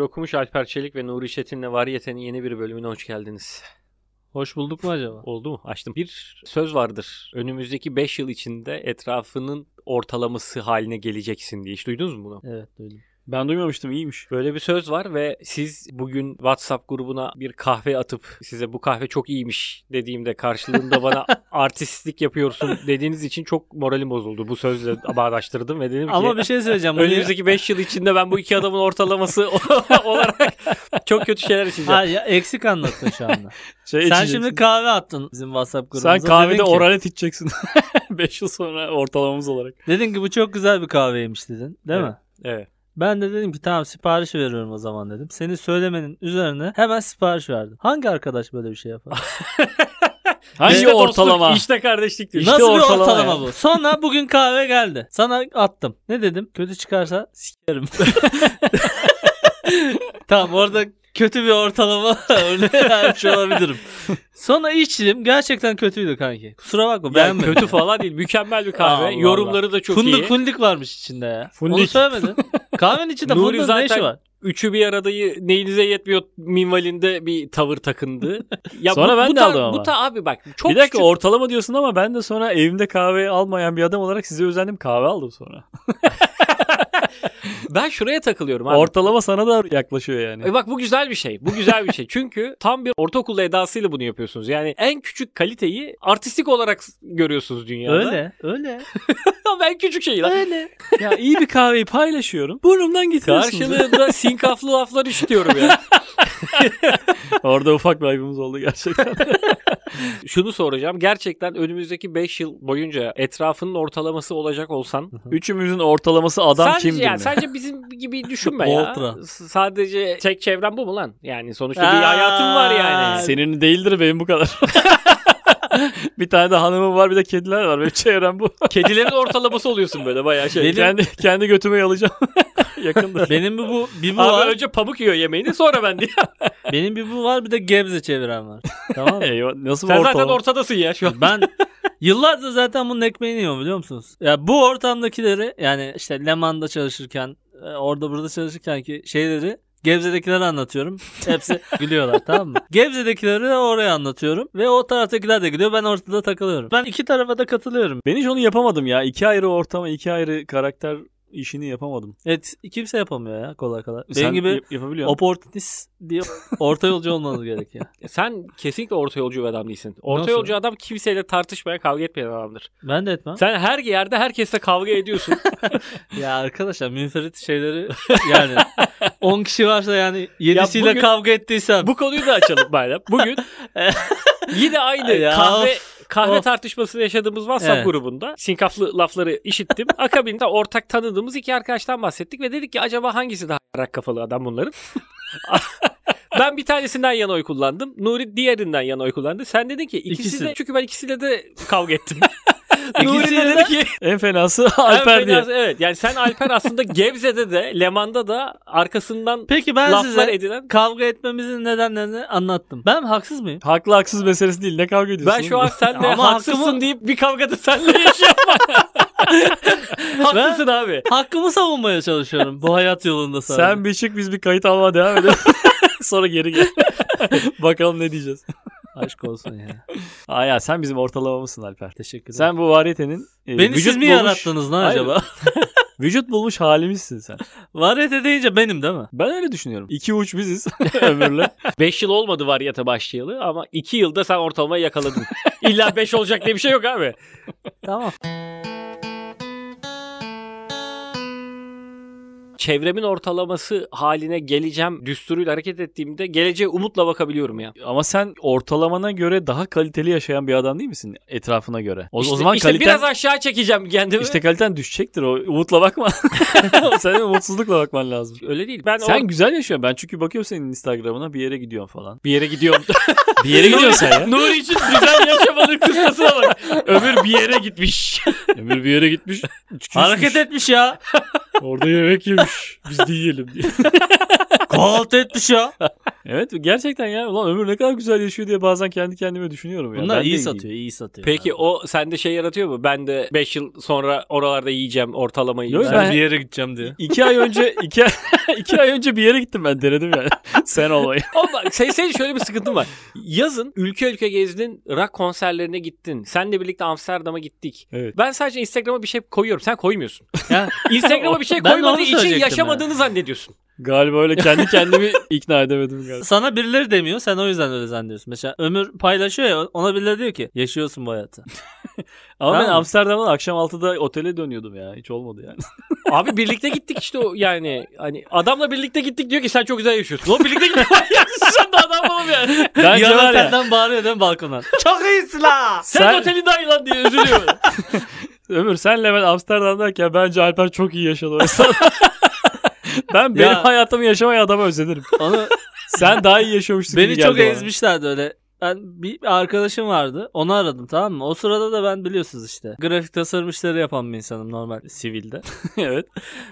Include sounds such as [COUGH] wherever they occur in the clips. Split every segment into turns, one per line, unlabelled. okumuş Alper Çelik ve Nuri Çetin'le Variyete'nin yeni bir bölümüne hoş geldiniz.
Hoş bulduk mu acaba?
Oldu mu? Açtım. Bir söz vardır. Önümüzdeki 5 yıl içinde etrafının ortalaması haline geleceksin diye. Hiç duydunuz mu bunu?
Evet duydum. Ben duymamıştım iyiymiş.
Böyle bir söz var ve siz bugün WhatsApp grubuna bir kahve atıp size bu kahve çok iyiymiş dediğimde karşılığında
[LAUGHS]
bana artistlik yapıyorsun dediğiniz için çok moralim bozuldu. Bu sözle bağdaştırdım ve dedim ki
Ama bir şey söyleyeceğim. Bunu-
önümüzdeki 5 yıl içinde ben bu iki adamın ortalaması [LAUGHS] olarak çok kötü şeyler içeceğim.
Ha, ya, eksik anlattın şu anda.
Şey
Sen şimdi kahve attın bizim WhatsApp grubumuza.
sen kahvede
Dedin ki-
oralet içeceksin. [LAUGHS] 5 yıl sonra ortalamamız olarak.
Dedin ki bu çok güzel bir kahveymiş dedin. Değil mi?
Evet.
Ben de dedim ki tamam sipariş veriyorum o zaman dedim. Senin söylemenin üzerine hemen sipariş verdim. Hangi arkadaş böyle bir şey yapar?
Hangi
İşte dostluk,
ortalama?
İşte kardeşlik diyor.
Nasıl
İşte
bir
ortalama,
ortalama
ya.
bu? Sonra bugün kahve geldi. Sana attım. Ne dedim? Kötü çıkarsa
[LAUGHS]
sikerim. tamam orada kötü bir ortalama [LAUGHS] örneği vermiş olabilirim. Sonra içtim. Gerçekten kötüydü kanki. Kusura bakma
Yani
beğenmedim.
kötü falan değil. Mükemmel bir kahve.
Allah Allah.
Yorumları da çok
fundik
iyi.
fundik varmış içinde ya.
Fundik.
Onu söylemedin. Kahvenin içinde
Nuri
fundik ne
zaten-
işi var?
Üçü bir aradayı neyinize yetmiyor minvalinde bir tavır takındı. Ya
Sonra ben de
tar-
aldım ama.
Bu ta abi bak çok
bir dakika
küçük-
ortalama diyorsun ama ben de sonra evimde kahve almayan bir adam olarak size özendim kahve aldım sonra.
ben şuraya takılıyorum abi.
Ortalama sana da yaklaşıyor yani.
E bak bu güzel bir şey. Bu güzel bir şey. Çünkü tam bir ortaokul edasıyla bunu yapıyorsunuz. Yani en küçük kaliteyi artistik olarak s- görüyorsunuz dünyada.
Öyle, öyle,
ben küçük şey lan.
öyle.
ya iyi bir kahveyi paylaşıyorum. Burnumdan getiriyorsunuz.
[LAUGHS]
[LAUGHS]
Karşılığında sinkaflı laflar işitiyorum ya.
Orada ufak bir ayıbımız
[LAUGHS]
oldu gerçekten.
[LAUGHS] Şunu soracağım. Gerçekten önümüzdeki 5 yıl boyunca etrafının ortalaması olacak olsan
Üçümüzün ortalaması adam
sadece
kimdir
yani [LAUGHS]
mi?
sadece bizim gibi düşünme ya.
Voltra.
S- Sadece tek çevren bu mu lan? Yani sonuçta bir hayatım var yani.
Senin değildir benim bu
[LAUGHS]
kadar. bir tane de hanımım var bir de kediler var. Benim çevrem bu.
Kedilerin ortalaması oluyorsun böyle bayağı şey.
Benim-
kendi, kendi götüme yalayacağım. [LAUGHS] Yakında.
Benim bir bu, bir bu
Abi
var.
önce pamuk yiyor yemeğini sonra [LAUGHS] ben diye.
Benim bir bu var bir de Gebze çeviren
[LAUGHS]
var. Tamam mı?
Eyvah, nasıl bir
Sen
ortalama?
zaten ortadasın ya şu an.
Ben yıllardır zaten bunun ekmeğini yiyorum biliyor musunuz? Ya bu ortamdakileri yani işte Leman'da çalışırken e, orada burada çalışırken ki şeyleri Gebze'dekileri anlatıyorum.
[LAUGHS]
Hepsi gülüyorlar tamam mı? Gebze'dekileri de oraya anlatıyorum. Ve o taraftakiler de gülüyor. Ben ortada takılıyorum. Ben iki tarafa da katılıyorum.
Ben hiç onu yapamadım ya. İki ayrı ortama, iki ayrı karakter işini yapamadım.
Evet kimse yapamıyor ya kolay kolay. Benim
Sen
gibi
yap- yapabiliyorsun.
oportunist diye orta yolcu olmanız gerekiyor.
Sen kesinlikle orta yolcu bir adam değilsin. Orta
Nasıl?
yolcu adam kimseyle tartışmaya, kavga etmeyen adamdır.
Ben de etmem.
Sen her yerde herkesle kavga ediyorsun.
Ya arkadaşlar münferit şeyleri yani 10 kişi varsa yani 7'siyle
bugün-
kavga ettiysem
Bu
[LAUGHS]
konuyu da açalım madem. Bugün yine aynı
E, Ya
kahve kahve
of.
tartışmasını yaşadığımız WhatsApp
Evet.
grubunda sinkaflı lafları
[LAUGHS]
işittim. Akabinde ortak tanıdığımız iki arkadaştan bahsettik ve dedik ki acaba hangisi daha rak kafalı adam
[LAUGHS]
bunların? ben bir tanesinden yana oy kullandım. Nuri diğerinden yana oy kullandı. Sen dedin ki ikisi,
İkisi.
de çünkü ben ikisiyle de kavga ettim. Nuri
[LAUGHS] İkisiyle
de dedi
de- [LAUGHS]
ki
En fenası [LAUGHS] Alper
Ben
diye.
biraz- Evet yani sen Alper aslında Gebze'de de Leman'da da arkasından
Peki ben
laflar
size
edilen.
kavga etmemizin nedenlerini anlattım. Ben haksız
[LAUGHS]
mıyım?
Haklı haksız meselesi değil. Ne kavga ediyorsun?
Ben şu an senle
Ama
haksızsın
hakkımı-
deyip bir kavgada senle yaşıyorum. [LAUGHS] Haklısın abi.
Hakkımı savunmaya çalışıyorum bu hayat yolunda sadece.
Sen bir çık biz bir kayıt almaya devam edelim. Sonra geri gel. Bakalım ne diyeceğiz.
Aşk olsun ya.
Aa ya sen bizim ortalamamısın Alper.
Teşekkür ederim.
Sen bu variyetenin e,
Beni
vücut
siz mi
bulmuş-
yarattınız lan
Hayır.
acaba? [LAUGHS]
Vücut bulmuş halimizsin sen.
Variyete deyince benim değil mi?
Ben öyle düşünüyorum. İki uç
[LAUGHS]
biziz ömürle.
5 yıl olmadı variyete başlayalı ama 2 yılda sen ortalamayı yakaladın. [LAUGHS] İlla 5 olacak diye bir şey yok abi.
Tamam.
Çevremin ortalaması haline geleceğim düsturuyla hareket ettiğimde geleceğe umutla bakabiliyorum ya.
Ama sen ortalamana göre daha kaliteli yaşayan bir adam değil misin etrafına göre? O, o
İşte-
zaman
işte
kaliten
biraz aşağı çekeceğim kendimi.
İşte kaliten düşecektir o. Umutla bakma. [LAUGHS] Sen umutsuzlukla bakman lazım.
Öyle değil. Ben
Sen
o-
güzel yaşıyorsun. Ben çünkü bakıyorum senin Instagram'ına bir yere gidiyorsun falan.
bir yere gidiyorum. [LAUGHS]
Bir yere gidiyorsun sen ya.
Nuri için güzel
[LAUGHS]
yaşamanın kıstasına bak. Ömür bir yere gitmiş.
Ömür bir yere gitmiş.
Hareket etmiş
[LAUGHS]
ya.
Orada yemek yemiş. Biz de yiyelim diye.
Kahvaltı etmiş ya.
Evet gerçekten ya. Ulan Ömür ne kadar güzel yaşıyor diye bazen kendi kendime düşünüyorum ya.
Bunlar
Ben de
iyi
yiyeyim.
satıyor, iyi satıyor.
Peki o sende şey yaratıyor mu? Ben de 5 yıl sonra oralarda yiyeceğim ortalamayı.
Yok,
Sen-
ben-
yere gideceğim diye.
İki ay önce iki [LAUGHS] ay, İki ay önce bir yere gittim ben denedim yani. Sen olayı.
Ama bak senin- senin şöyle bir sıkıntın var. Yazın ülke ülke gezdin, rock konserlerine gittin. Senle birlikte Amsterdam'a gittik.
Evet.
Ben sadece Instagram'a bir şey koyuyorum. Sen koymuyorsun.
[LAUGHS] Ya.
Instagram'a bir şey
[LAUGHS] Ben de onu
koymadığı için
söyleyecektim
yaşamadığını zannediyorsun.
Galiba öyle kendi kendimi ikna edemedim galiba.
Sana birileri demiyor sen o yüzden öyle zannediyorsun. Mesela Ömür paylaşıyor ya ona birileri diyor ki yaşıyorsun bu [LAUGHS] hayatı.
Ama ben
Tamam.
Amsterdam'dan akşam 6'da otele dönüyordum ya. Hiç olmadı yani.
Abi birlikte gittik işte o yani. Hani adamla birlikte gittik diyor ki sen çok güzel yaşıyorsun. Lan birlikte gittik. [LAUGHS] sen de adam oğlum yani.
Bence
Yan
var ya.
otelden bağırıyor değil mi balkondan?
Çok iyisin la.
Sen,
Sen-
otelin daha iyi lan diye üzülüyor.
[LAUGHS]
Ömür senle ben Amsterdam'dayken bence Alper çok iyi yaşadı o esnada. ben benim
Ya.
hayatımı yaşamaya adama özenirim.
Onu
Sen daha iyi yaşamışsın gibi
Beni çok
geldi bana.
ezmişlerdi öyle. Ben bir arkadaşım vardı. Onu aradım tamam mı? O sırada da ben biliyorsunuz işte. Grafik tasarım işleri yapan bir insanım normal sivilde. [LAUGHS]
evet.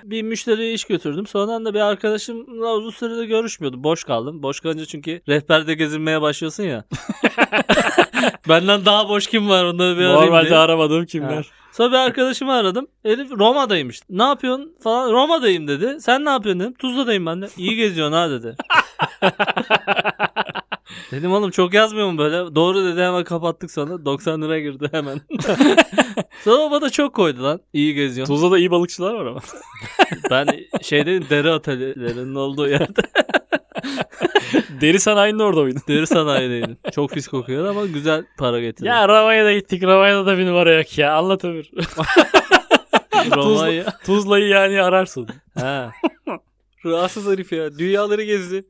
bir müşteriye iş götürdüm. Sonradan da bir arkadaşımla uzun süredir görüşmüyordum. Boş kaldım. Boş kalınca çünkü rehberde gezinmeye başlıyorsun
[LAUGHS]
ya. [LAUGHS] Benden daha boş kim var onları bir arayayım
Normalde
diye.
aramadığım kimler.
Sonra bir arkadaşımı aradım. Elif Roma'daymış. Ne yapıyorsun falan. Roma'dayım dedi. Sen ne yapıyorsun dedim. Tuzla'dayım ben de. İyi geziyorsun ha [LAUGHS] dedi. dedim oğlum çok yazmıyor mu böyle? Doğru dedi hemen kapattık sonra. 90 lira girdi hemen. [LAUGHS] sonra o bana çok koydu lan. İyi geziyorsun.
Tuzla'da iyi balıkçılar var ama.
ben şey şeydeyim deri atelierlerinin olduğu yerde.
Deri sanayinin orada mıydın?
[LAUGHS] Deri sanayideydim. Çok pis kokuyor ama güzel para getirdi.
Ya Ravanya'da gittik. Ravanya'da da bir numara yok ya. Anlat Ömür.
[LAUGHS] Roma'yı.
[LAUGHS] Tuzla'yı yani ararsın.
Ha.
Rahatsız herif ya. Dünyaları gezdi.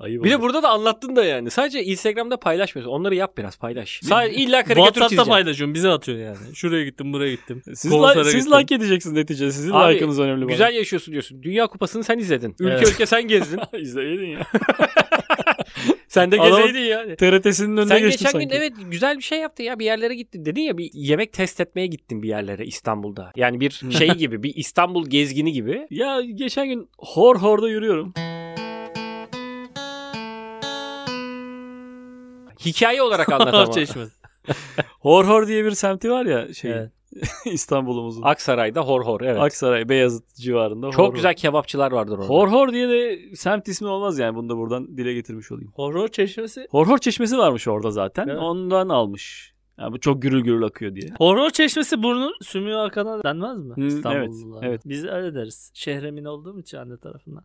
Ayıp
Bir de
oldu.
burada da anlattın da yani. Sadece Instagram'da paylaşmıyorsun. Onları yap biraz paylaş. Sadece illa karikatür
WhatsApp'ta
çizeceksin.
paylaşıyorum. Bize atıyor yani. Şuraya gittim, buraya gittim.
siz,
Konsere
like, siz
gittim.
like edeceksiniz neticede. Sizin
Abi,
like'ınız önemli [LAUGHS]
Güzel yaşıyorsun diyorsun. Dünya kupasını sen izledin. Ülke
Evet.
ülke sen gezdin.
bana. İzleyeydin ya.
sen de
Adam-
gezeydin yani.
TRT'sinin önüne
Sen
geçtim
geçen
sanki.
gün evet güzel bir şey yaptın ya bir yerlere gittin. Dedin ya bir yemek test etmeye gittin bir yerlere İstanbul'da. Yani bir
Hmm.
şey gibi bir İstanbul gezgini gibi.
Ya geçen gün hor horda yürüyorum.
Hikaye
[LAUGHS]
olarak anlat
Kahve
ama.
çeşmesi.
Hor hor diye bir semti var ya şey
Evet.
[LAUGHS] İstanbul'umuzun.
Aksaray'da hor hor evet.
Aksaray, Beyazıt civarında.
Çok
hor
güzel kebapçılar vardır orada.
Hor. hor hor diye de semt ismi olmaz yani bunu da buradan dile getirmiş olayım.
Horror çeşmesi.
Hor hor çeşmesi varmış orada zaten.
Evet.
Ondan almış. Ya bu çok gürül gürül akıyor diye.
Horror çeşmesi burnu sümüğü akana denmez mi?
Hmm,
İstanbullulara.
evet, evet.
Biz öyle deriz. Şehremin olduğum için anne [LAUGHS] tarafından.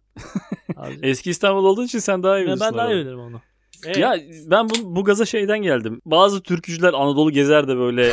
Abi,
Eski İstanbul olduğu için sen daha iyi
ben,
biliyorsun.
ben daha
orada.
iyi bilirim onu.
Ya ben bu, bu gaza şeyden geldim. Bazı türkücüler Anadolu gezer de böyle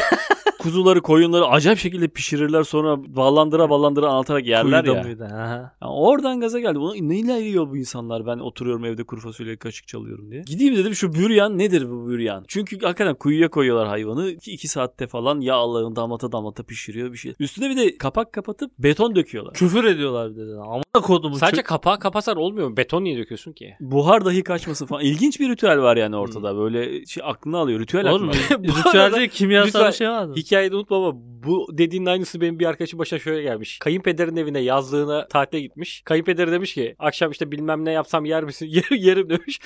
kuzuları koyunları acayip şekilde pişirirler sonra ballandıra ballandıra anlatarak yerler
Kuyuda
ya.
muydu? Ha.
Ya oradan gaza geldi. Bunu neyle yiyor bu insanlar? Ben oturuyorum evde kuru fasulye kaşık çalıyorum diye. Gideyim dedim şu büryan nedir bu büryan? Çünkü hakikaten kuyuya koyuyorlar hayvanı. 2 saatte falan yağlarını damlata damlata pişiriyor bir şey. Üstüne bir de kapak kapatıp beton döküyorlar.
Küfür ediyorlar bir de. Amına kodumu.
Sadece kapağı kapasar olmuyor mu? Beton niye döküyorsun ki?
Buhar dahi kaçmasın falan. İlginç bir ritüel var yani ortada. Böyle şey aklını alıyor. Ritüel
Oğlum
aklını alıyor. [LAUGHS]
[LAUGHS] ritüelde kimyasal
lütfen-
bir şey var mı?
Hikayede unutma ama bu dediğinin aynısı benim bir arkadaşım başına şöyle gelmiş. Kayınpederin evine yazlığına tatile gitmiş. Kayınpederi demiş ki akşam işte bilmem ne yapsam yer misin? [LAUGHS] Yerim, yerim demiş.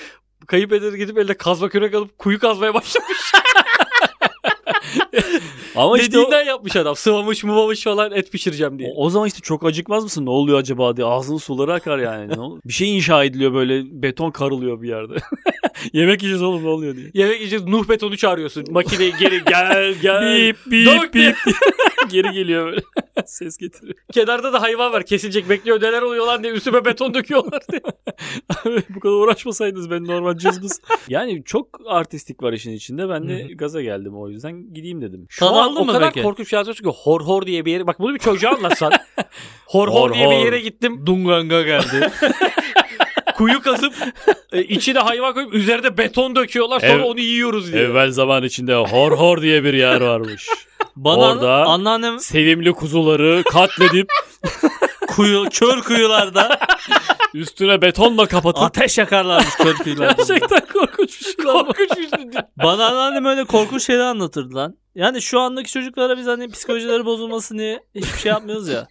Kayınpederi gidip elde kazma kürek alıp kuyu kazmaya başlamış.
Ama işte o,
Dediğinden yapmış adam. Sıvamış muvamış falan et pişireceğim diye.
o- o zaman işte çok acıkmaz mısın? Ne oluyor acaba diye. Ağzının suları akar yani. Ne ol- bir şey inşa ediliyor böyle. Beton karılıyor bir yerde. [LAUGHS] Yemek yiyeceğiz oğlum ne oluyor diye.
Yemek yiyeceğiz Nuh betonu çağırıyorsun. Makineyi geri
[LAUGHS]
gel gel.
Bip
Dök
bip
diye.
bip. Geri geliyor böyle. [LAUGHS] Ses getiriyor. [LAUGHS]
Kenarda da hayvan var kesilecek bekliyor. Neler oluyor lan diye üstüme beton döküyorlar diye.
Bu kadar uğraşmasaydınız ben normal cızbız. yani çok artistik var işin içinde. Ben de gaza geldim o yüzden gideyim dedim.
Şu
Tadı
an
aldın
o
mı
kadar
peki?
korkunç yazıyorsun ki hor hor diye bir yere. Bak bunu bir çocuğa
[LAUGHS]
anlatsan. hor hor,
Hor
diye bir
hor.
yere gittim.
Dunganga geldi.
Kuyu kazıp e, içine hayvan koyup üzerine beton döküyorlar. Sonra
Ev-
onu yiyoruz diye.
Evvel zaman içinde hor hor diye bir yer varmış.
Bana
Orada-
anneannem
Sevimli kuzuları katledip
kuyu, kör kuyularda
üstüne betonla
[LAUGHS]
kapatıp
ateş yakarlarmış kör kuyularda.
Gerçekten korkunç bir şey
[LAUGHS]
[LAUGHS]
ama.
Korkunç bir şey.
Bana anneannem öyle korkunç şeyler anlatırdı lan. Yani şu andaki çocuklara biz hani psikolojileri bozulmasın diye hiçbir şey yapmıyoruz ya.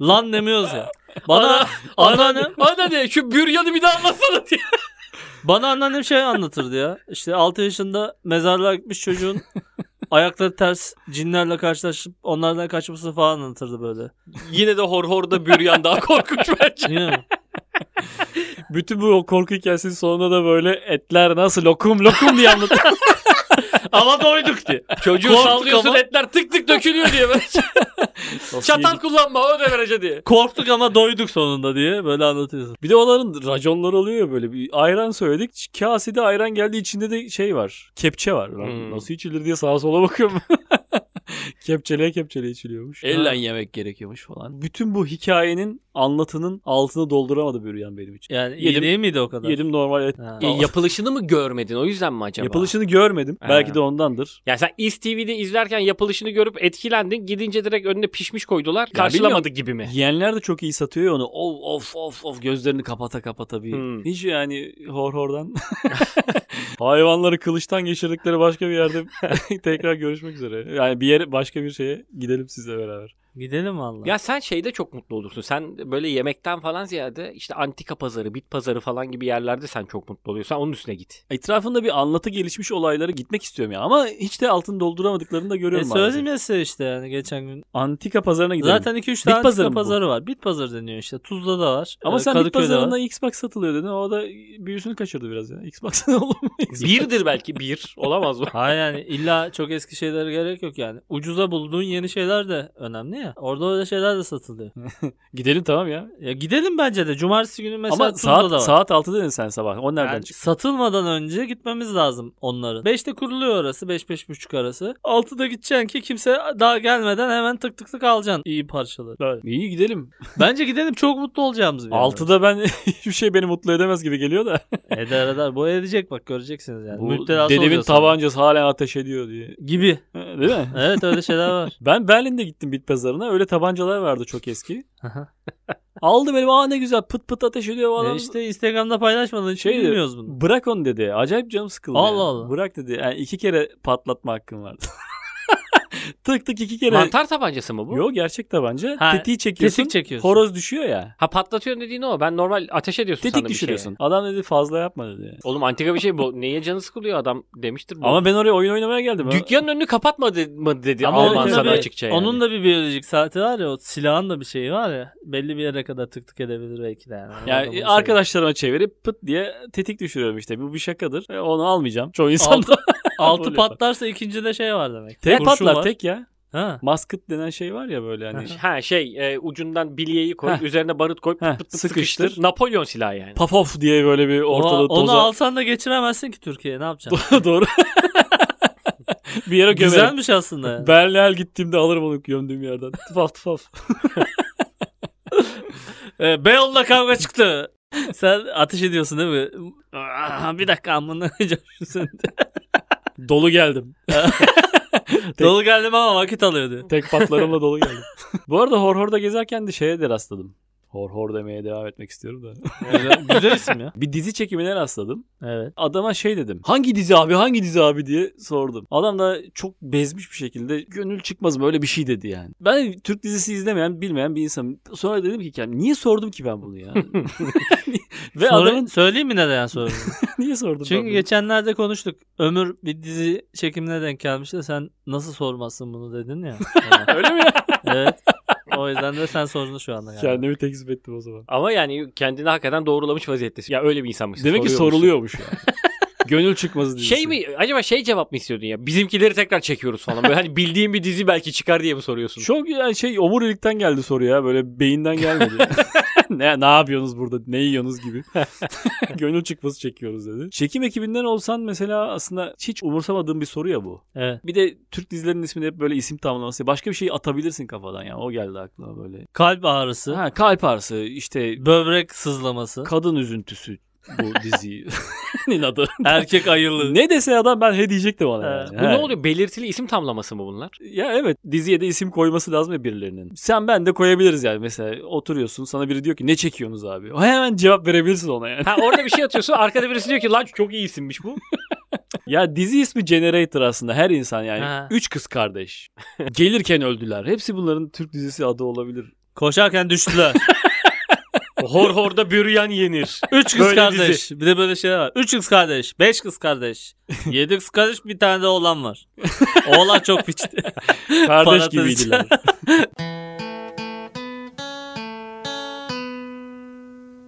lan demiyoruz ya. Bana anneannem
Ana diye şu büryanı bir daha anlatsana diye.
bana anneannem şey anlatırdı ya. İşte 6 yaşında mezarlığa gitmiş çocuğun Ayakları ters cinlerle karşılaşıp onlardan kaçması falan anlatırdı böyle.
Yine de hor horda büryan
[LAUGHS]
daha korkunç bence.
Değil mi?
[LAUGHS] Bütün bu korku hikayesinin sonunda da böyle etler nasıl lokum lokum
[LAUGHS]
diye anlatıyor. Ama doyduk diye.
Çocuğu
Korktuk
sallıyorsun
ama.
etler tık tık dökülüyor [LAUGHS] diye. böyle. Çatal kullanma o derece diye.
Korktuk ama doyduk sonunda diye böyle anlatıyorsun.
Bir de onların raconları oluyor ya böyle. Bir ayran söyledik. Kasede ayran geldi. içinde de şey var. Kepçe var. Lan
Hmm.
Nasıl içilir diye sağa sola bakıyorum. [LAUGHS] kepçeleye kepçeleye içiliyormuş.
Elle
yemek gerekiyormuş falan. Bütün bu hikayenin anlatının altını dolduramadı Büryan benim için.
Yani iyi
Yedim.
değil miydi o kadar?
Yedim normal et.
Ha.
E, yapılışını mı görmedin o yüzden mi acaba?
Yapılışını görmedim.
Ha.
Belki de ondandır.
Ya sen İz TV'de izlerken yapılışını görüp etkilendin. Gidince direkt önüne pişmiş koydular.
Ya
Karşılamadı gibi
Eh.
mi?
Yiyenler de çok iyi satıyor ya onu. Of of of of gözlerini kapata kapata bir.
Hmm.
Hiç yani hor hordan. [LAUGHS] Hayvanları kılıçtan geçirdikleri başka bir yerde [LAUGHS] tekrar görüşmek üzere. Yani bir yere başka bir şeye gidelim sizle beraber.
Gidelim valla.
Ya sen şeyde çok mutlu olursun. Sen böyle yemekten falan ziyade işte antika pazarı, bit pazarı falan gibi yerlerde sen çok mutlu oluyorsun. Sen onun üstüne
[LAUGHS]
git.
Etrafında bir anlatı gelişmiş olaylara gitmek istiyorum ya. Ama hiç de altını dolduramadıklarını da
E,
görüyorum. maalesef.
söyledim ya size işte yani geçen gün.
Antika pazarına gidelim.
Zaten 2-3
Bit
tane
pazarı
pazarı,
mı bu?
pazarı var. Bit pazarı deniyor işte. Tuzla da var.
ama
e,
sen bit
Kadıköy'de var.
pazarında Xbox satılıyor dedin. O da büyüsünü kaçırdı biraz ya. Xbox [LAUGHS] ne olur mu?
Birdir belki bir. Olamaz mı?
[LAUGHS]
Hayır yani illa çok eski şeylere gerek yok yani. Ucuza bulduğun yeni şeyler de önemli ya. Orada öyle şeyler de satılıyor.
Gidelim tamam ya.
ya gidelim bence de. Cumartesi günü mesela
Ama
Tuzla'da var.
saat, saat 6 dedin sen sabah. O nereden
Yani
çıktı?
satılmadan önce gitmemiz lazım onların. 5'te kuruluyor orası. 5-5.30 arası. 6'da gideceksin ki kimse daha gelmeden hemen tık tık tık alacaksın iyi
[LAUGHS]
parçaları.
İyi gidelim.
Bence gidelim çok mutlu olacağımız bir yer.
6'da ben hiçbir şey beni mutlu edemez gibi geliyor da.
[LAUGHS] Eder eder. Bu edecek bak göreceksiniz yani.
Bu
Müptelası
dedemin
olacaksın.
tabancası hala ateş ediyor diye.
Gibi.
Değil mi?
Evet öyle şeyler
[LAUGHS]
var.
ben Berlin'de gittim bit pazarına. Öyle tabancalar vardı çok eski. [LAUGHS] Aldı benim aa ne güzel pıt pıt ateş ediyor
e
falan.
işte Instagram'da paylaşmadığın için
Şeydi,
bilmiyoruz bunu.
Bırak onu dedi. Acayip canım sıkıldı.
Allah
ya.
Allah.
Bırak dedi. Yani iki kere patlatma hakkım vardı. [LAUGHS] tık tık iki kere.
Mantar tabancası mı bu?
Yo gerçek tabanca.
Ha,
Tetiği çekiyorsun.
Kesik çekiyorsun.
Horoz düşüyor ya.
Ha patlatıyorsun dediğin o. Ben normal ateş ediyorsun
Tetik
şey.
sandım bir
düşürüyorsun.
şeye.
Adam dedi fazla yapma dedi.
Oğlum antika bir şey bu. Neye canı sıkılıyor adam demiştir bu.
Ama ben oraya oyun oynamaya geldim.
Dükkanın önünü kapatma de- mı dedi
Ama
Alman
onun da
sana
bir-
açıkça yani.
Onun da bir biyolojik saati var ya o silahın da bir şeyi var ya belli bir yere kadar tık tık edebilir belki de yani. Adamın
Yani
şeyi.
arkadaşlarıma çevirip pıt diye tetik düşürüyorum işte. Bu bir şakadır. E, Onu almayacağım. Çoğu insan da.
[LAUGHS] altı
Oluyor.
patlarsa ikinci de şey var demek.
Tek
Kurşun
patlar
var.
tek ya.
Ha.
Maskıt denen şey var ya böyle hani.
Ha şey e, ucundan bilyeyi koy,
Heh.
üzerine barut koy,
Heh,
pıt pıt sıkıştır.
sıkıştır.
Napolyon silahı yani.
Pafof diye böyle bir ortalığı
O- onu
toza. [LAUGHS]
alsan da geçiremezsin ki Türkiye'ye ne yapacaksın? [LAUGHS]
Doğru. bir yere gömerim.
Güzelmiş aslında.
[LAUGHS]
yani.
Berlin'e gittiğimde alırım onu gömdüğüm yerden. Tıfaf tıfaf.
Ee, Beyoğlu'na kavga çıktı. [LAUGHS] Sen ateş ediyorsun değil mi? Aa, bir dakika amına sen. [LAUGHS]
Dolu geldim.
Dolu geldim ama vakit alıyordu.
Tek patlarımla dolu geldim. Bu arada Horhor'da gezerken de şeye de rastladım. Horhor demeye devam etmek istiyorum da.
Güzel, güzel isim ya.
bir dizi çekimine rastladım.
Evet.
Adama şey dedim. Hangi dizi abi hangi dizi abi diye sordum. Adam da çok bezmiş bir şekilde gönül çıkmaz mı öyle bir şey dedi yani. Ben Türk dizisi izlemeyen bilmeyen bir insanım. Sonra dedim ki kendim niye sordum ki
[LAUGHS]
ben bunu ya? Ve
Ve
adamın [LAUGHS]
söyleyeyim mi neden sorunu?
niye sordum ben
Çünkü
bunu?
geçenlerde konuştuk. Ömür bir dizi çekimine denk gelmişti. de Sen nasıl sormazsın bunu dedin ya.
Öyle mi?
evet. O yüzden de sen sordun şu anda galiba.
Kendimi tekzip ettim o zaman.
Ama yani kendini hakikaten doğrulamış vaziyettesin. Ya öyle bir insanmışsın.
Demek ki
soruyormuşsun.
soruluyormuş ya.
[LAUGHS]
Gönül çıkmazı dizisi.
Şey mi acaba şey cevap mı istiyordun ya? Bizimkileri tekrar çekiyoruz falan. Böyle hani bildiğin bir dizi belki çıkar diye mi soruyorsun?
Çok yani şey omurilikten geldi soru ya. Böyle
[LAUGHS]
beyinden gelmedi. [LAUGHS] ne, ne yapıyorsunuz burada? Ne yiyorsunuz gibi. Gönül çıkması çekiyoruz dedi. Çekim ekibinden olsan mesela aslında hiç umursamadığın bir soru ya bu.
Evet.
Bir de Türk dizilerinin ismini hep böyle isim tamlaması. Başka bir şey atabilirsin kafadan ya. O geldi aklıma böyle.
Kalp ağrısı,
Ha, kalp ağrısı işte
böbrek sızlaması,
kadın üzüntüsü bu
[LAUGHS]
[LAUGHS] dizinin adı.
erkek ayılığı.
ne dese adam ben he diyecek de bana.
Ha.
yani.
Bu
Ha.
ne oluyor? Belirtili isim tamlaması mı bunlar?
Ya evet diziye de isim koyması lazım ya birilerinin. Sen ben de koyabiliriz yani mesela oturuyorsun sana biri diyor ki ne çekiyorsunuz abi? O hemen cevap verebilirsin ona yani. [LAUGHS]
Ha orada bir şey atıyorsun. Arkada birisi diyor ki lan çok iyi isimmiş bu.
ya dizi ismi Generator aslında her insan yani.
Ha.
Üç kız [LAUGHS] kardeş. Gelirken öldüler. Hepsi bunların Türk dizisi adı olabilir.
Koşarken düştüler.
Hor horda büryan yenir.
Üç kız
Böyle
kardeş.
dizi.
Bir de böyle şeyler var. Üç kız kardeş. Beş kız kardeş. Yedi kız kardeş. Bir tane de oğlan var. Oğlan çok piçti.
Kardeş
Parantez
gibiydiler.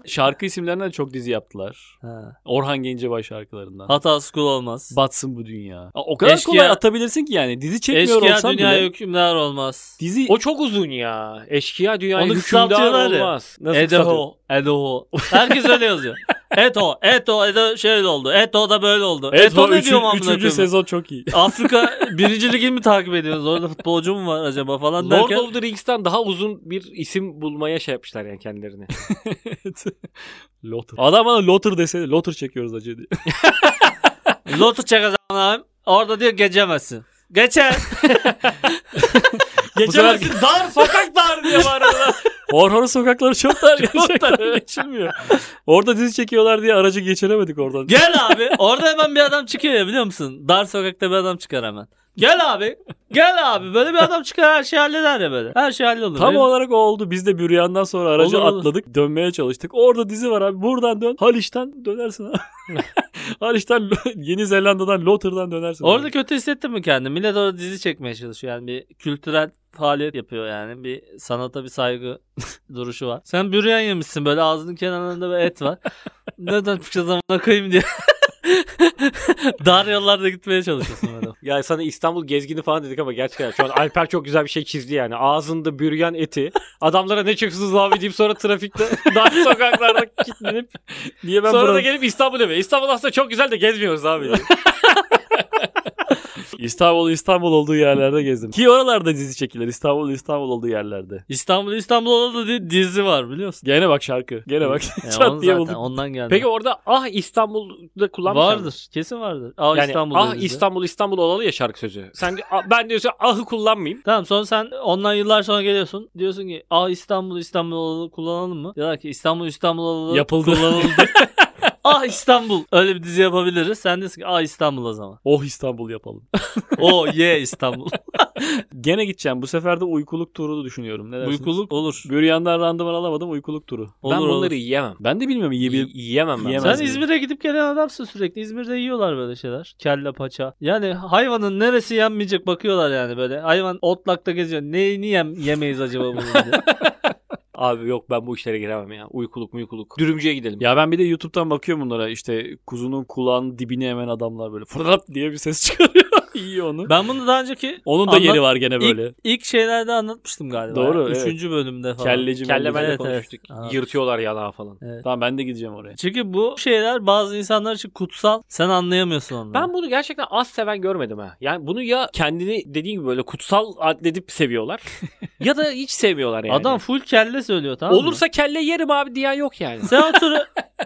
Şarkı isimlerinden çok dizi yaptılar.
Ha.
Orhan Gencebay şarkılarından.
Hatası kul olmaz.
Batsın bu dünya. Aa, O kadar
Eşkıya-
kolay atabilirsin ki yani. Dizi çekmiyor
Eşkıya
olsan
dünya
bile.
hükümdar olmaz.
Dizi
O çok uzun ya. Eşkıya dünyayı
Onu
hükümdar
kısaltıyorlar ya.
olmaz. kısaltıyor?
Edoho. Edoho. Herkes öyle
[LAUGHS]
yazıyor. Eto, Eto, Edo şöyle oldu. Eto da böyle oldu.
Evet,
Eto
o
ne
üçün-
diyorum amına
Üçüncü
koyayım?
sezon çok [LAUGHS] iyi.
Afrika birinci ligini mi takip ediyoruz? Orada futbolcu mu var acaba falan
Lord
derken.
of the Rings'ten daha uzun bir isim bulmaya şey yapmışlar yani kendilerini.
Lothar. Adam bana Lothar desene. Lothar çekiyoruz acı diye.
Lotus çakası a**ınayım. Orada diyor geçemezsin.
[LAUGHS]
Geçer. [LAUGHS]
sefer-
Geçemezsin dar sokak dar diye
[LAUGHS]
bağırıyorlar.
Orhan'ın sokakları
[LAUGHS]
çok dar
Çok dar,
gerçekten
evet.
geçilmiyor. Orada dizi çekiyorlar diye aracı geçiremedik oradan.
Gel abi. Orada hemen bir adam çıkıyor ya biliyor musun? Dar sokakta bir adam çıkar hemen. Gel abi. Gel abi. Böyle bir adam çıkar her şey halleder ya böyle. Her şey hallolur.
Tam
Benim-
olarak o oldu. Biz de Büryan'dan sonra aracı
Olur, olur.
atladık. Dönmeye çalıştık. Orada dizi var abi. Buradan dön. Haliç'ten dönersin
[LAUGHS]
abi. Haliç'ten, [LAUGHS] Yeni Zelanda'dan, Lothar'dan dönersin. abi.
Orada kötü hissettin mi kendini? Millet orada dizi çekmeye çalışıyor. Yani bir kültürel faaliyet yapıyor yani. Bir sanata bir saygı [LAUGHS] duruşu var. Sen büryan yemişsin böyle ağzının kenarlarında bir
[LAUGHS]
et var. Neden fıçı zamana koyayım diye. [LAUGHS] Dar yollarda gitmeye çalışıyorsun böyle.
[LAUGHS] ya sana İstanbul gezgini falan dedik ama gerçekten şu an Alper çok güzel bir şey çizdi yani. Ağzında büryan eti. Adamlara ne çıksınız abi deyip sonra trafikte [LAUGHS] dar [LAUGHS] sokaklarda kilitlenip
Niye ben
sonra
burada...
da gelip İstanbul'a eve. İstanbul aslında çok güzel de gezmiyoruz abi. diye.
İstanbul, İstanbul olduğu yerlerde gezdim. Ki oralarda dizi çekilir. İstanbul, İstanbul olduğu yerlerde.
İstanbul İstanbul'da da di- dizi var biliyorsun.
Gene bak şarkı. Gene bak.
Yani
[LAUGHS] Çat
onu
diye
zaten,
bulduk.
ondan geldi.
Peki orada ah İstanbul'da
şey
kullanmışlar. mı?
vardır. Kesin vardır. Aa
Yani
İstanbul.
ah
dizi.
İstanbul İstanbul olalı ya şarkı sözü. Sen de- "Ah, ben diyorsun ahı kullanmayayım.
Tamam sonra sen ondan yıllar sonra geliyorsun. Diyorsun ki aa İstanbul İstanbul olalı kullanalım mı? Diyorlar ki İstanbul İstanbul olalı [LAUGHS]
Yapıldı.
kullanıldı. ah İstanbul. Öyle bir dizi yapabiliriz. Sen diyorsun ki aa İstanbul o zaman.
Oh İstanbul yapalım.
[LAUGHS]
[LAUGHS]
O ye İstanbul. [LAUGHS]
Gene gideceğim. Bu sefer de uykuluk turu düşünüyorum. Ne dersiniz?
Uykuluk olur.
Büryan'dan randıman alamadım. Uykuluk turu.
Olur
ben
olur.
bunları yiyemem.
Ben de bilmiyorum. iyi bir...
Y- yiyemem ben.
Yiyemez.
Sen
Yemez miyim?
İzmir'e gidip gelen adamsın sürekli. İzmir'de yiyorlar böyle şeyler. Kelle paça. Yani hayvanın neresi yenmeyecek bakıyorlar yani böyle. Hayvan otlakta geziyor. Neyini yem yemeyiz acaba bunun [LAUGHS] diye.
Abi yok ben bu işlere giremem ya. Uykuluk muykuluk. Dürümcüye gidelim.
Ya ben bir de YouTube'dan bakıyorum bunlara. İşte kuzunun kulağının dibine hemen adamlar böyle fırlat diye bir ses [LAUGHS] çıkarıyor. İyi onu.
Ben bunu daha önceki
Onun da
Anlat-
yeri var gene
İlk-
böyle.
ilk şeylerde anlatmıştım galiba.
Doğru,
ya.
evet.
Üçüncü bölümde falan.
Kelleci
Kelle
melleci.
benle
Evet,
konuştuk.
evet. Aa.
Yırtıyorlar yanağı falan.
Evet.
Tamam ben de gideceğim oraya.
Çünkü bu şeyler bazı insanlar için kutsal. Sen anlayamıyorsun onları.
Ben bunu gerçekten az seven görmedim ha. Yani bunu ya kendini dediğin gibi böyle kutsal adledip seviyorlar ya da hiç sevmiyorlar yani.
Adam full kelle söylüyor tamam mı?
olursa kelle yerim abi diyen yok
[LAUGHS]
yani.
sen otur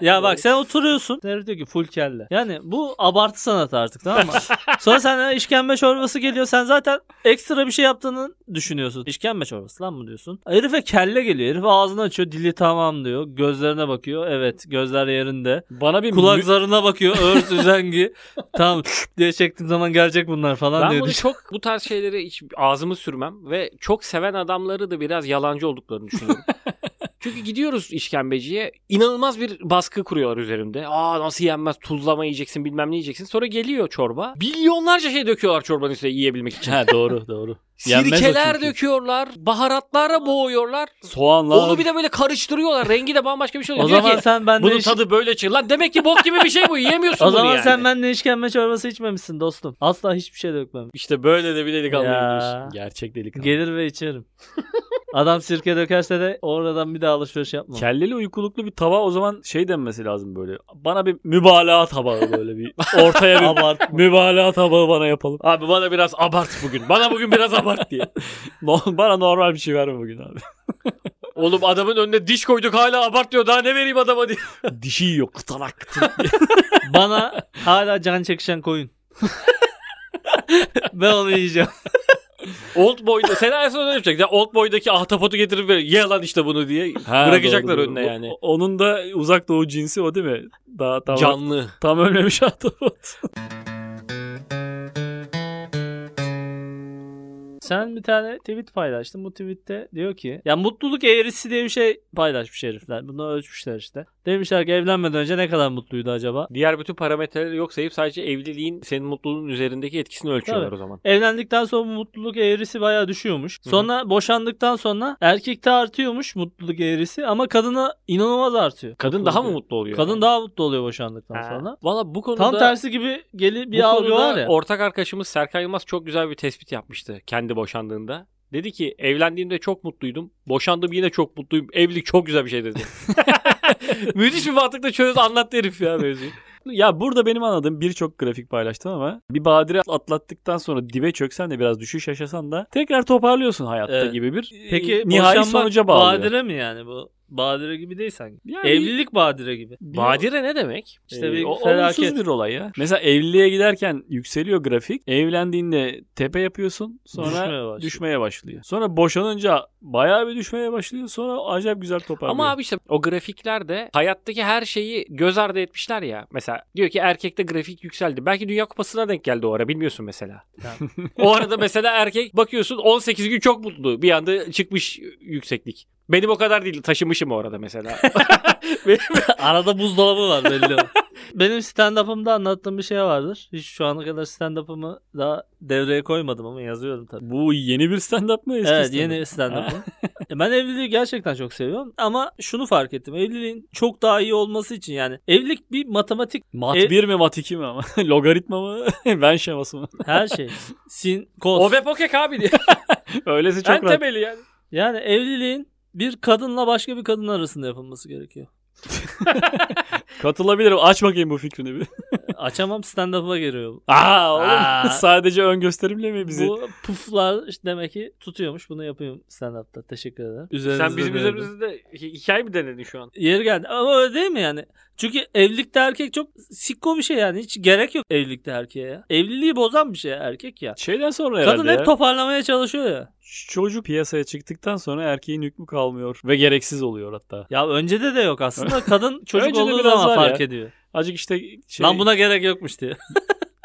ya bak sen oturuyorsun. Herif diyor ki full kelle. Yani bu abartı sanat artık tamam mı? Sonra sana işkembe çorbası geliyor. Sen zaten ekstra bir şey yaptığını düşünüyorsun. İşkembe çorbası lan mı diyorsun? Herife kelle geliyor. Herif ağzını açıyor. Dili tamam diyor. Gözlerine bakıyor. Evet gözler yerinde.
[LAUGHS]
Bana bir
Kulak
mü-
zarına bakıyor. Örs üzengi. tamam diye çektiğim zaman gelecek bunlar falan
Ben
diye
bunu
düşün-
çok bu tarz şeylere hiç ağzımı sürmem ve çok seven adamları da biraz yalancı olduklarını düşünüyorum.
[LAUGHS]
Çünkü gidiyoruz işkembeciye inanılmaz bir baskı kuruyorlar üzerimde. Aa nasıl yenmez tuzlama yiyeceksin bilmem ne yiyeceksin. Sonra geliyor çorba. Milyonlarca şey döküyorlar çorbanın üstüne yiyebilmek için.
Ha doğru doğru. Yenmez o
Sirkeler
çünkü.
döküyorlar. Baharatlara boğuyorlar.
Soğanla
Onu bir de böyle karıştırıyorlar. Rengi de bambaşka bir şey oluyor.
O
Diyor
zaman
ki,
sen benden
bunun
iş-
tadı böyle çıkıyor. Lan demek ki bok gibi bir şey bu. [LAUGHS] Yiyemiyorsun
O zaman
bunu yani.
sen benden işkembe çorbası içmemişsin dostum. Asla hiçbir şey dökmem.
İşte böyle de bir delikanlıymış.
Ya.
Gerçek delikanlı.
Gelir
[LAUGHS]
ve içerim. Adam sirke dökerse de oradan bir daha alışveriş yapmam.
Kelleli uykuluklu bir tava o zaman şey denmesi lazım böyle. Bana bir mübalağa tabağı
[LAUGHS]
böyle bir ortaya bir mübalağa tabağı bana yapalım.
Abi bana biraz abart bugün. Bana bugün biraz abart diye.
[LAUGHS] No- bana normal bir şey verme bugün abi.
[LAUGHS] Oğlum adamın önüne diş koyduk hala abart diyor. Daha ne vereyim adama diye.
Dişi yok kıtarak.
Bana hala can çekişen
[LAUGHS]
koyun. [LAUGHS] ben onu yiyeceğim.
[LAUGHS] Old Boy'da Sena en son öyle yapacak. Ya Old Boy'daki ahtapotu getirip ver. Ye lan işte bunu diye. Bırakacaklar önüne yani.
O- onun da uzak doğu cinsi o değil mi? Daha tam,
Canlı.
tam ölmemiş ahtapot.
Sen bir tane tweet paylaştın. Bu tweette diyor ki ya mutluluk eğrisi diye bir şey paylaşmış herifler. Bunu ölçmüşler işte. Demişler ki evlenmeden önce ne kadar mutluydu acaba?
Diğer bütün parametreleri yok sayıp sadece evliliğin senin mutluluğun üzerindeki etkisini ölçüyorlar
Tabii.
o zaman.
Evlendikten sonra bu mutluluk eğrisi bayağı düşüyormuş.
Hı hı.
Sonra boşandıktan sonra erkekte artıyormuş mutluluk eğrisi ama kadına inanılmaz artıyor.
Kadın daha mı mutlu oluyor?
Kadın
yani?
daha mutlu oluyor boşandıktan
Ha.
sonra.
Valla bu konuda
Tam tersi gibi geli bir
bu
algı
konuda
var ya.
Ortak arkadaşımız Serkan Yılmaz çok güzel bir tespit yapmıştı kendi boşandığında. Dedi ki evlendiğimde çok mutluydum. Boşandım yine çok mutluyum. Evlilik çok güzel bir şey dedi. [LAUGHS] Müthiş bir mantıkla çöz anlattı herif ya mevzuyu.
Ya burada benim anladığım birçok grafik paylaştım ama bir badire atlattıktan sonra dibe çöksen de biraz düşüş yaşasan da tekrar toparlıyorsun hayatta
Evet.
gibi bir
Peki
e, nihai
boşanmak
sonuca bağlı.
Ee, Badire mi yani bu? Badire gibi değil sanki.
Yani
Evlilik badire gibi.
bir-
Badire ne demek?
İşte
Ee,
bir
o- olumsuz
felaket.
bir olay ya. Mesela evliliğe giderken yükseliyor grafik. Evlendiğinde tepe yapıyorsun. Sonra
Düşmeye başlıyor.
düşmeye başlıyor. Sonra boşanınca bayağı bir düşmeye başlıyor. Sonra acayip güzel toparlıyor.
Ama abi işte o grafiklerde hayattaki her şeyi göz ardı etmişler ya. Mesela diyor ki erkekte grafik yükseldi. Belki Dünya Kupası'na denk geldi o ara bilmiyorsun mesela.
Tamam.
o arada mesela erkek bakıyorsun 18 gün çok mutlu. Bir anda çıkmış yükseklik. Benim o kadar değil taşımışım o arada
[LAUGHS]
mesela.
[LAUGHS] Arada buzdolabı var
[LAUGHS]
belli. o. Benim stand-up'ımda anlattığım bir şey vardır. Hiç şu ana kadar stand-up'ımı daha devreye koymadım ama yazıyorum tabii.
bu yeni bir stand-up mı eski
evet
stand-up?
yeni stand-up'ım. E, ben evliliği gerçekten çok seviyorum ama şunu fark ettim. Evliliğin çok daha iyi olması için yani evlilik bir matematik
Mat
E-
1 mi mat 2 mi ama? [LAUGHS] Logaritma mı? [LAUGHS] ben
[LAUGHS]
şeması mı?
her
[LAUGHS]
şey. Sin, kos.
o ve pokek abi
[LAUGHS]
diye.
Öylesi çok
en
rahat.
temeli yani.
Yani evliliğin bir kadınla başka bir kadın arasında yapılması gerekiyor.
Katılabilirim. Aç bakayım bu fikrini bir. [LAUGHS]
Açamam stand-up'a geliyor bu.
Aa oğlum.
Aa.
[LAUGHS] Sadece ön gösterimle mi bizi?
Bu puflar işte demek ki tutuyormuş. Bunu yapıyorum stand-up'ta. Teşekkür ederim.
Sen bizim
denedim.
üzerimizde hi- hikaye mi denedin şu an?
Yeri geldi. Ama öyle değil mi yani? Çünkü evlilikte erkek çok sikko bir şey yani. Hiç gerek yok evlilikte erkeğe ya. Evliliği bozan bir şey erkek ya.
Şeyden sonra herhalde
Kadın hep
ya.
toparlamaya çalışıyor ya.
Çocuğu piyasaya çıktıktan sonra erkeğin hükmü kalmıyor ve gereksiz oluyor hatta.
Ya öncede de yok aslında.
[LAUGHS]
Kadın çocuk
Önce de
olduğu
biraz
zaman
var
fark
ya.
ediyor.
Acık işte şey,
Lan buna gerek yokmuş
[LAUGHS]
diye.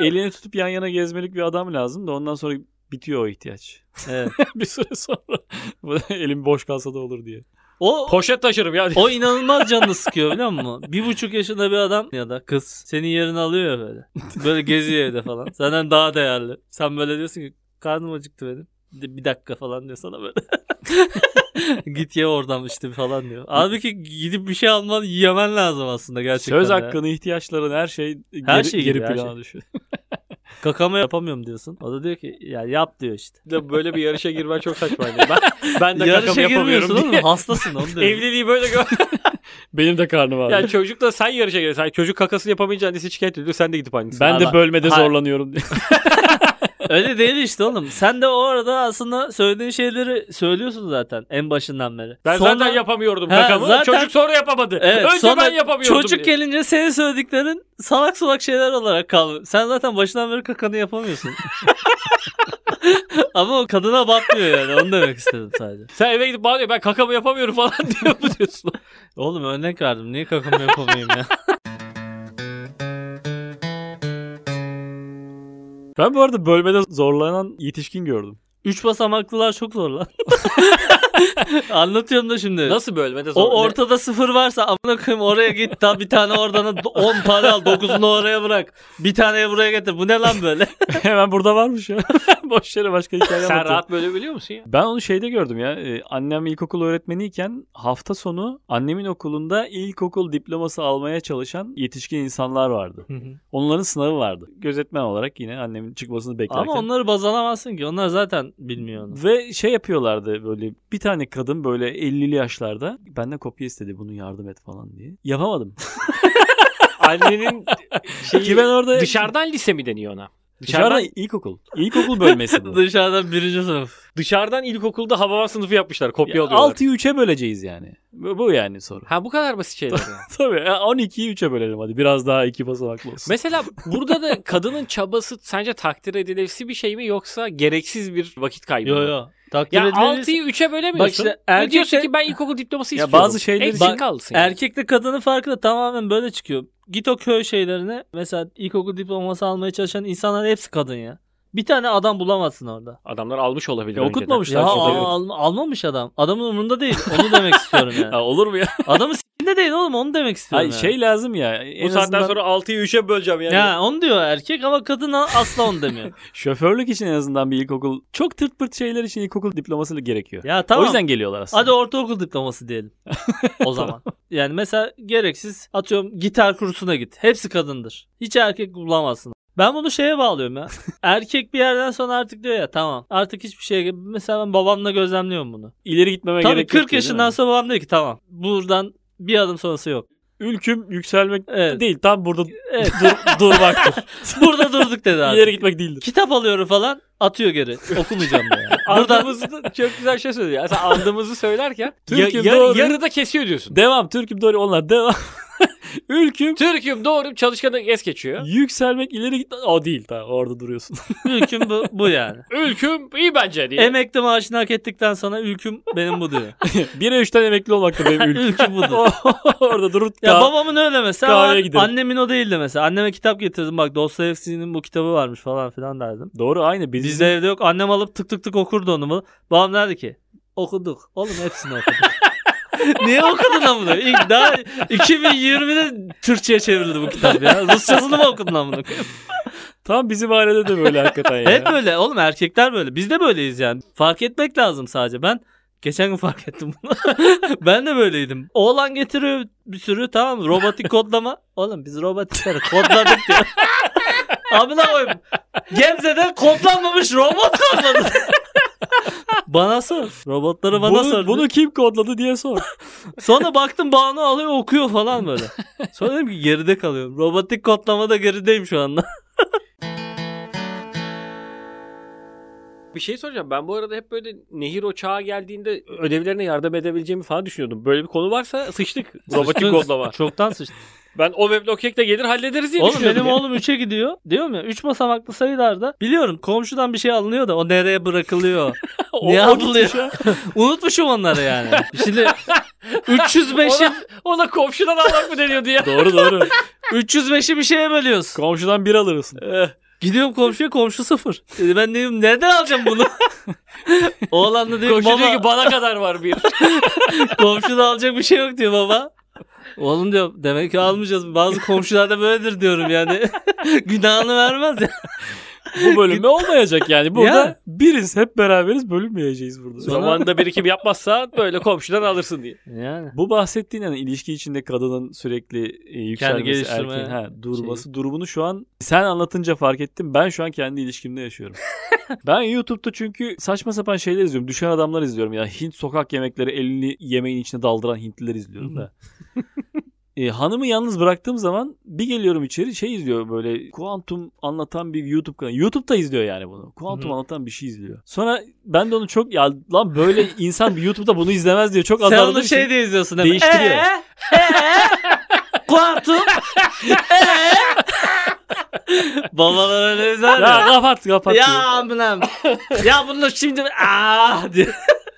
elini tutup yan yana gezmelik bir adam lazım da ondan sonra bitiyor o ihtiyaç. [LAUGHS]
Evet.
bir süre sonra [LAUGHS] bu elim boş kalsa da olur diye.
O
Poşet taşırım ya. [LAUGHS]
O inanılmaz canını sıkıyor biliyor musun? Bir buçuk yaşında bir adam ya da kız senin yerini alıyor ya böyle. Böyle geziyor evde falan. Senden daha değerli. Sen böyle diyorsun ki karnım acıktı benim. De- Bir dakika falan diyor sana böyle. [LAUGHS] Git ye oradan işte falan diyor. Halbuki gidip bir şey alman yemen lazım aslında gerçekten.
Söz
ya.
hakkını, ihtiyaçların her şey geri,
Her şey gibi,
geri
her
plana
şey.
düşüyor.
Kakama yapamıyorum diyorsun. O da diyor ki ya yap diyor işte.
Böyle bir yarışa girmen çok saçmaydı. Ben, ben de
Yarışa
Yarışa
girmiyorsun
yapamıyorum [LAUGHS]
oğlum.
diye.
Hastasın onu diyor.
Evliliği böyle gör.
Benim de karnım ağrıyor.
Ya çocukla sen yarışa giriyorsun. Hayır, çocuk kakasını yapamayınca annesi şikayet ediyor. Sen de gidip annesine.
ben
Ama-
de [LAUGHS] bölmede
Hayır.
zorlanıyorum diye.
Öyle değil işte oğlum. Sen de o arada aslında söylediğin şeyleri söylüyorsun zaten en başından beri.
Ben
Sonra-
zaten yapamıyordum
He,
kakamı.
zaten-
Çocuk sonra yapamadı.
Evet,
Önce
sonra
ben yapamıyordum.
Çocuk
diye.
gelince senin söylediklerin salak salak şeyler olarak kaldı. Sen zaten başından beri kakanı yapamıyorsun. [LAUGHS] Ama o kadına batmıyor yani. Onu demek istedim sadece.
Sen eve gidip bağırıyor ben kakamı yapamıyorum falan [LAUGHS] diyor mu diyorsun?
Oğlum örnek verdim. Niye kakamı yapamayayım ya?
Ben bu arada bölmede zorlanan
[LAUGHS]
yetişkin gördüm. [LAUGHS]
Üç basamaklılar çok zor lan. [LAUGHS] Anlatıyorum da şimdi.
Nasıl bölmede zor?
O ortada sıfır varsa amına koyayım oraya git daha bir tane oradan 10 tane al 9'unu oraya bırak. Bir taneyi buraya getir. Bu ne lan böyle?
Hemen burada varmış ya. [LAUGHS] boş yere başka hikaye
Sen
anlatıyor.
rahat bölebiliyor musun ya?
Ben onu şeyde gördüm ya. Ee, Annem ilkokul öğretmeniyken hafta sonu annemin okulunda ilkokul diploması almaya çalışan yetişkin insanlar vardı. Onların sınavı vardı. Gözetmen olarak yine annemin çıkmasını beklerken.
Ama onları baz alamazsın ki. Onlar zaten bilmiyor onu.
Ve şey yapıyorlardı böyle bir tane kadın böyle 50'li yaşlarda benden kopya istedi bunu yardım et falan diye. Yapamadım.
[LAUGHS] Annenin şeyi...
[LAUGHS] Ki ben orada
[LAUGHS] Dışarıdan lise mi deniyor ona?
dışarıdan
Dışarıdan,
ilkokul. İlkokul
[LAUGHS]
bölmesi bu.
Dışarıdan birinci sınıf.
dışarıdan ilkokulda havavan sınıfı yapmışlar. Kopya alıyorlar.
6'yı 3'e böleceğiz yani. Bu, bu yani soru.
Ha bu kadar basit şeyler [LAUGHS] yani.
[LAUGHS] Tabii e, 12'yi 3'e bölelim hadi biraz daha iki basamaklı olsun.
Mesela burada da kadının çabası sence takdir edilesi bir şey mi yoksa gereksiz bir vakit kaybı
Yo
mı?
yo. Takdir
Ya
edilmeliyiz.
6'yı 3'e bölemiyorsun.
Bak işte erkek-
Ve diyorsun ki ben ilkokul diploması
Ya
istiyorum.
bazı şeyler
Eksik
Bak,
kalsın. yani.
Erkekle kadının farkı da tamamen böyle çıkıyor. Git o köy şeylerine. Mesela ilkokul diploması almaya çalışan insanların hepsi kadın ya. Bir tane adam bulamazsın orada.
Adamlar almış olabilir
Ya
önceden. [LAUGHS]
okutmamışlar
Ya
ki.
al- al- almamış adam. Adamın umurunda değil. Onu demek istiyorum yani.
[LAUGHS] Ha, olur mu ya?
Adamın sikinde değil oğlum onu demek
Ay,
istiyorum. yani.
şey lazım ya. en
Bu saatten
azından
sonra 6'yı 3'e böleceğim yani.
Ya onu diyor erkek ama kadın a- asla onu
[LAUGHS]
demiyor.
şoförlük için en azından bir ilkokul çok tırt pırt şeyler için ilkokul diploması gerekiyor.
ya tamam.
O yüzden geliyorlar aslında.
Hadi ortaokul diploması diyelim.
[LAUGHS]
o zaman. Yani mesela gereksiz atıyorum gitar kursuna git. Hepsi kadındır. Hiç erkek bulamazsın. Ben bunu şeye bağlıyorum
[LAUGHS]
ya. erkek bir yerden sonra artık diyor ya tamam. Artık hiçbir şeye mesela ben babamla gözlemliyorum bunu.
İleri gitmeme
Tabii
gerek
40
yok diyor, değil mi?
yaşından sonra babam diyor ki tamam. Buradan bir adım sonrası yok.
Ülküm yükselmek
Evet.
değil. Tam burada
Evet.
[LAUGHS] dur, durmaktır. [LAUGHS]
Burada durduk dedi artık.
İleri gitmek değildir.
Kitap alıyorum falan atıyor geri. Okumayacağım diyor.
[LAUGHS]
yani. Buradan
Andığımızı da çok güzel şey söylüyor.
[LAUGHS]
Yani sen andığımızı söylerken ya-
Türk'üm
yarı-
doğru.
yarıda kesiyor diyorsun.
Devam Türk'üm doğru onlar devam. [LAUGHS] Ülküm
Türk'üm doğruyum çalışkanlık es geçiyor.
yükselmek ileri git. O değil tamam orada [LAUGHS] duruyorsun.
ülküm bu, bu yani.
Ülküm iyi bence diye.
Emekli maaşını hak ettikten sonra ülküm benim bu diyor.
1'e 3'ten emekli olmak da [LAUGHS] benim [LAUGHS] ülküm.
ülküm budur.
orada durup
Ya
ya
babamın öyle mesela.
kahveye
an-
gidelim.
Annemin o değildi mesela. Anneme kitap getirdim bak Dostoyevski'nin bu kitabı varmış falan filan derdim.
Doğru aynı biz,
Bizde evde yok. Annem alıp tık tık tık okurdu onu. bu- Babam derdi ki okuduk. Oğlum hepsini
[LAUGHS]
okuduk. Niye okudun lan bunu? İlk daha 2020'de Türkçe'ye çevrildi bu kitap ya. Rusçasını mı okudun lan bunu?
tam bizim ailede de böyle hakikaten
[LAUGHS]
ya.
Hep böyle oğlum erkekler böyle. Biz de böyleyiz yani. Fark etmek lazım sadece. Ben geçen gün fark ettim bunu. [LAUGHS] ben de böyleydim. Oğlan getiriyor bir sürü tamam mı? robotik kodlama. Oğlum biz robotikleri kodladık
[LAUGHS]
diyor. Amına koyayım. Gemze'de kodlanmamış robot kodladı.
[LAUGHS]
bana sor. Robotları bana
bunu,
sor.
bunu kim kodladı diye sor.
Sonra baktım Banu alıyor okuyor falan böyle. Sonra dedim ki geride kalıyorum. Robotik kodlamada gerideyim şu anda.
Bir şey soracağım. Ben bu arada hep böyle nehir o çağa geldiğinde ödevlerine yardım edebileceğimi falan düşünüyordum. Böyle bir konu varsa sıçtık. Robotik kodlama.
Çoktan sıçtı.
Ben o memlokekle gelir hallederiz diye
Oğlum
düşünüyordum.
benim oğlum 3'e gidiyor. Diyorum ya 3 basamaklı sayılarda. Biliyorum komşudan bir şey alınıyor da o nereye bırakılıyor.
O-
Niye
o gitmiş
alınıyor? Unutmuşum onları yani. Şimdi 305'i
Ona, ona komşudan almak mı deniyordu ya?
doğru doğru.
305'i bir şeye bölüyorsun. Eh.
Komşudan bir alırsın.
Gidiyorum komşuya komşu sıfır. Dedi ben neyim nereden alacağım bunu? Oğlan da diyor
Komşu diyor
baba
ki bana kadar var bir.
komşuda alacak bir şey yok diyor baba. Oğlum diyor demek ki almayacağız. Bazı komşularda böyledir diyorum yani. Günahını vermez ya. [LAUGHS]
Bu bölümde olmayacak yani. Burada
Ya.
biriz hep beraberiz bölünmeyeceğiz burada.
Zamanında birikim yapmazsa böyle komşudan alırsın diye.
Yani.
Bu bahsettiğin yani ilişki içinde kadının sürekli e, yükselmesi,
geliştirme
erkeğin ha, durması durumunu şu an sen anlatınca fark ettim. Ben şu an kendi
[LAUGHS]
ilişkimde yaşıyorum. ben YouTube'da çünkü saçma sapan şeyler izliyorum. Düşen adamlar izliyorum ya. Hint sokak yemekleri elini yemeğin içine daldıran Hintliler
[LAUGHS]
izliyorum da. E, hanımı yalnız bıraktığım zaman bir geliyorum içeri şey izliyor böyle kuantum anlatan bir YouTube kanalı. YouTube'da izliyor yani bunu. Kuantum
Hı.
anlatan bir şey izliyor. Sonra ben de onu çok ya lan böyle insan bir YouTube'da bunu izlemez diye çok
Sen onu
azarladığım için-
şey de izliyorsun değil mi?
Değiştiriyor.
Ee, ee, kuantum. ee. Babalar öyle izler
Ya
ya.
kapat kapat.
Ya
diyor.
amınam. ya bunu şimdi ah aa diye.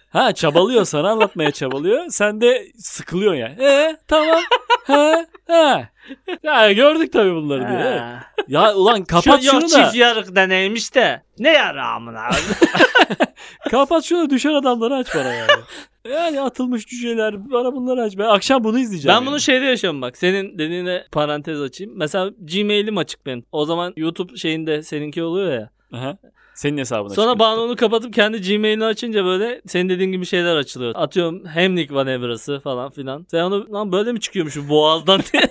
Ha çabalıyor sana anlatmaya çabalıyor. Sen de sıkılıyorsun yani. E tamam. Ha ha. Ya gördük tabii bunları diyor. Evet. Ya ulan kapat
Kapat
şunu
yok,
da.
çift yarık deneymiş de. Ne yara amına.
Kapat şunu da düşen adamları aç bana yani. Yani atılmış cüceler bana bunları aç. Ben akşam bunu izleyeceğim.
ben bunu şeyde yaşıyorum bak. Senin dediğine parantez açayım. Mesela Gmail'im açık benim. O zaman YouTube şeyinde seninki oluyor ya.
yani. Aha. Senin hesabına
Sonra
çıkıyor.
Banu onu kapatıp kendi Gmail'ini açınca böyle senin dediğin gibi şeyler açılıyor. Atıyorum Hemlik manevrası falan filan. Sen onu lan böyle mi çıkıyormuş bu boğazdan [LAUGHS] diye.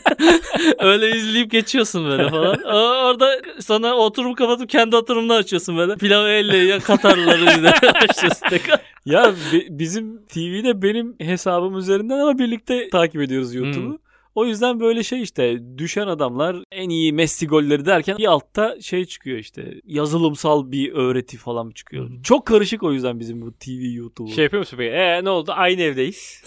Öyle izleyip geçiyorsun böyle falan. O- Orada sana oturumu kapatıp kendi oturumunu açıyorsun böyle. Pilav elle ya Katarlıları [LAUGHS] izlemeye başlıyorsun tekrar.
Ya bi- bizim TV'de benim hesabım üzerinden ama birlikte takip ediyoruz YouTube'u.
Hmm.
O yüzden böyle şey işte düşen adamlar en iyi Messi golleri derken bir altta şey çıkıyor işte yazılımsal bir öğreti falan çıkıyor.
Hmm.
Çok karışık o yüzden bizim bu TV YouTube'u.
Şey yapıyor musun peki? Ee ne oldu? Aynı evdeyiz.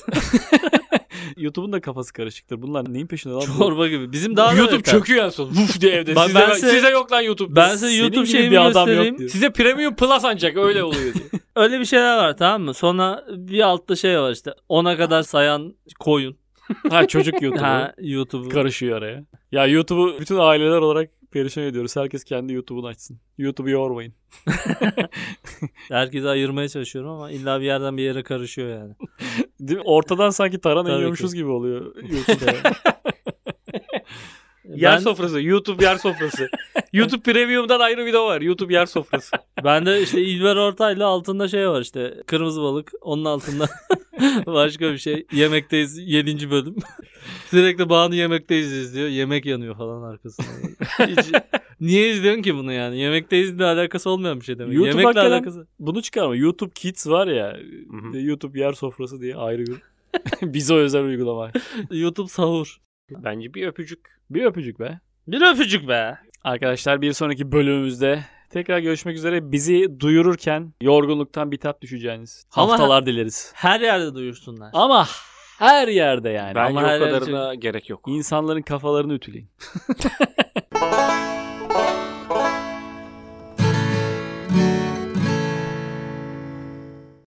YouTube'un da kafası karışıktır. Bunlar neyin peşinde lan? bu?
Çorba gibi. Bizim daha da
YouTube
beter.
çöküyor en son. Vuf diye evde.
Ben-
size,
ben size-
size yok lan YouTube.
Ben size
Senin
YouTube
gibi
şeyimi
bir adam yok
göstereyim.
diyor.
Size Premium Plus ancak öyle oluyor diye.
Öyle bir şeyler var tamam mı? Sonra bir altta şey var işte. Ona kadar sayan koyun.
[LAUGHS] Ha çocuk YouTube'u.
Ha YouTube'u.
Karışıyor araya. Ya YouTube'u bütün aileler olarak Perişan ediyoruz. Herkes kendi YouTube'unu açsın. YouTube'u yormayın.
Herkese ayırmaya çalışıyorum ama illa bir yerden bir yere karışıyor yani.
Değil mi? Ortadan sanki tarhana
Tabii
yiyormuşuz gibi
[LAUGHS]
oluyor YouTube'da.
Yer
Ben-
sofrası. YouTube yer
[LAUGHS]
sofrası. YouTube Premium'dan ayrı video var. YouTube yer sofrası.
Ben de işte İlber Ortaylı altında şey var işte kırmızı balık onun altında [LAUGHS] başka bir şey. Yemekteyiz 7. bölüm. [LAUGHS] Sürekli Banu yemekteyiz izliyor. Yemek yanıyor falan arkasında.
[LAUGHS]
Hiç- niye izliyorsun ki bunu yani? Yemekteyiz de alakası olmayan bir şey demek.
YouTube
Yemekle
hakikaten-
alakası.
Bunu çıkarma. YouTube Kids var ya.
hı.
YouTube yer sofrası diye ayrı bir. [LAUGHS] Bize özel uygulama.
[LAUGHS] YouTube sahur.
Bence bir öpücük.
Bir öpücük be.
Bir öpücük be.
Arkadaşlar bir sonraki bölümümüzde tekrar görüşmek üzere. Bizi duyururken yorgunluktan bitap düşeceğiniz
Ama-
haftalar dileriz.
Her yerde duyursunlar.
Ama her yerde yani.
Bence
ama
o
her şey- yer
kadarına gerek yok.
İnsanların kafalarını ütüleyin.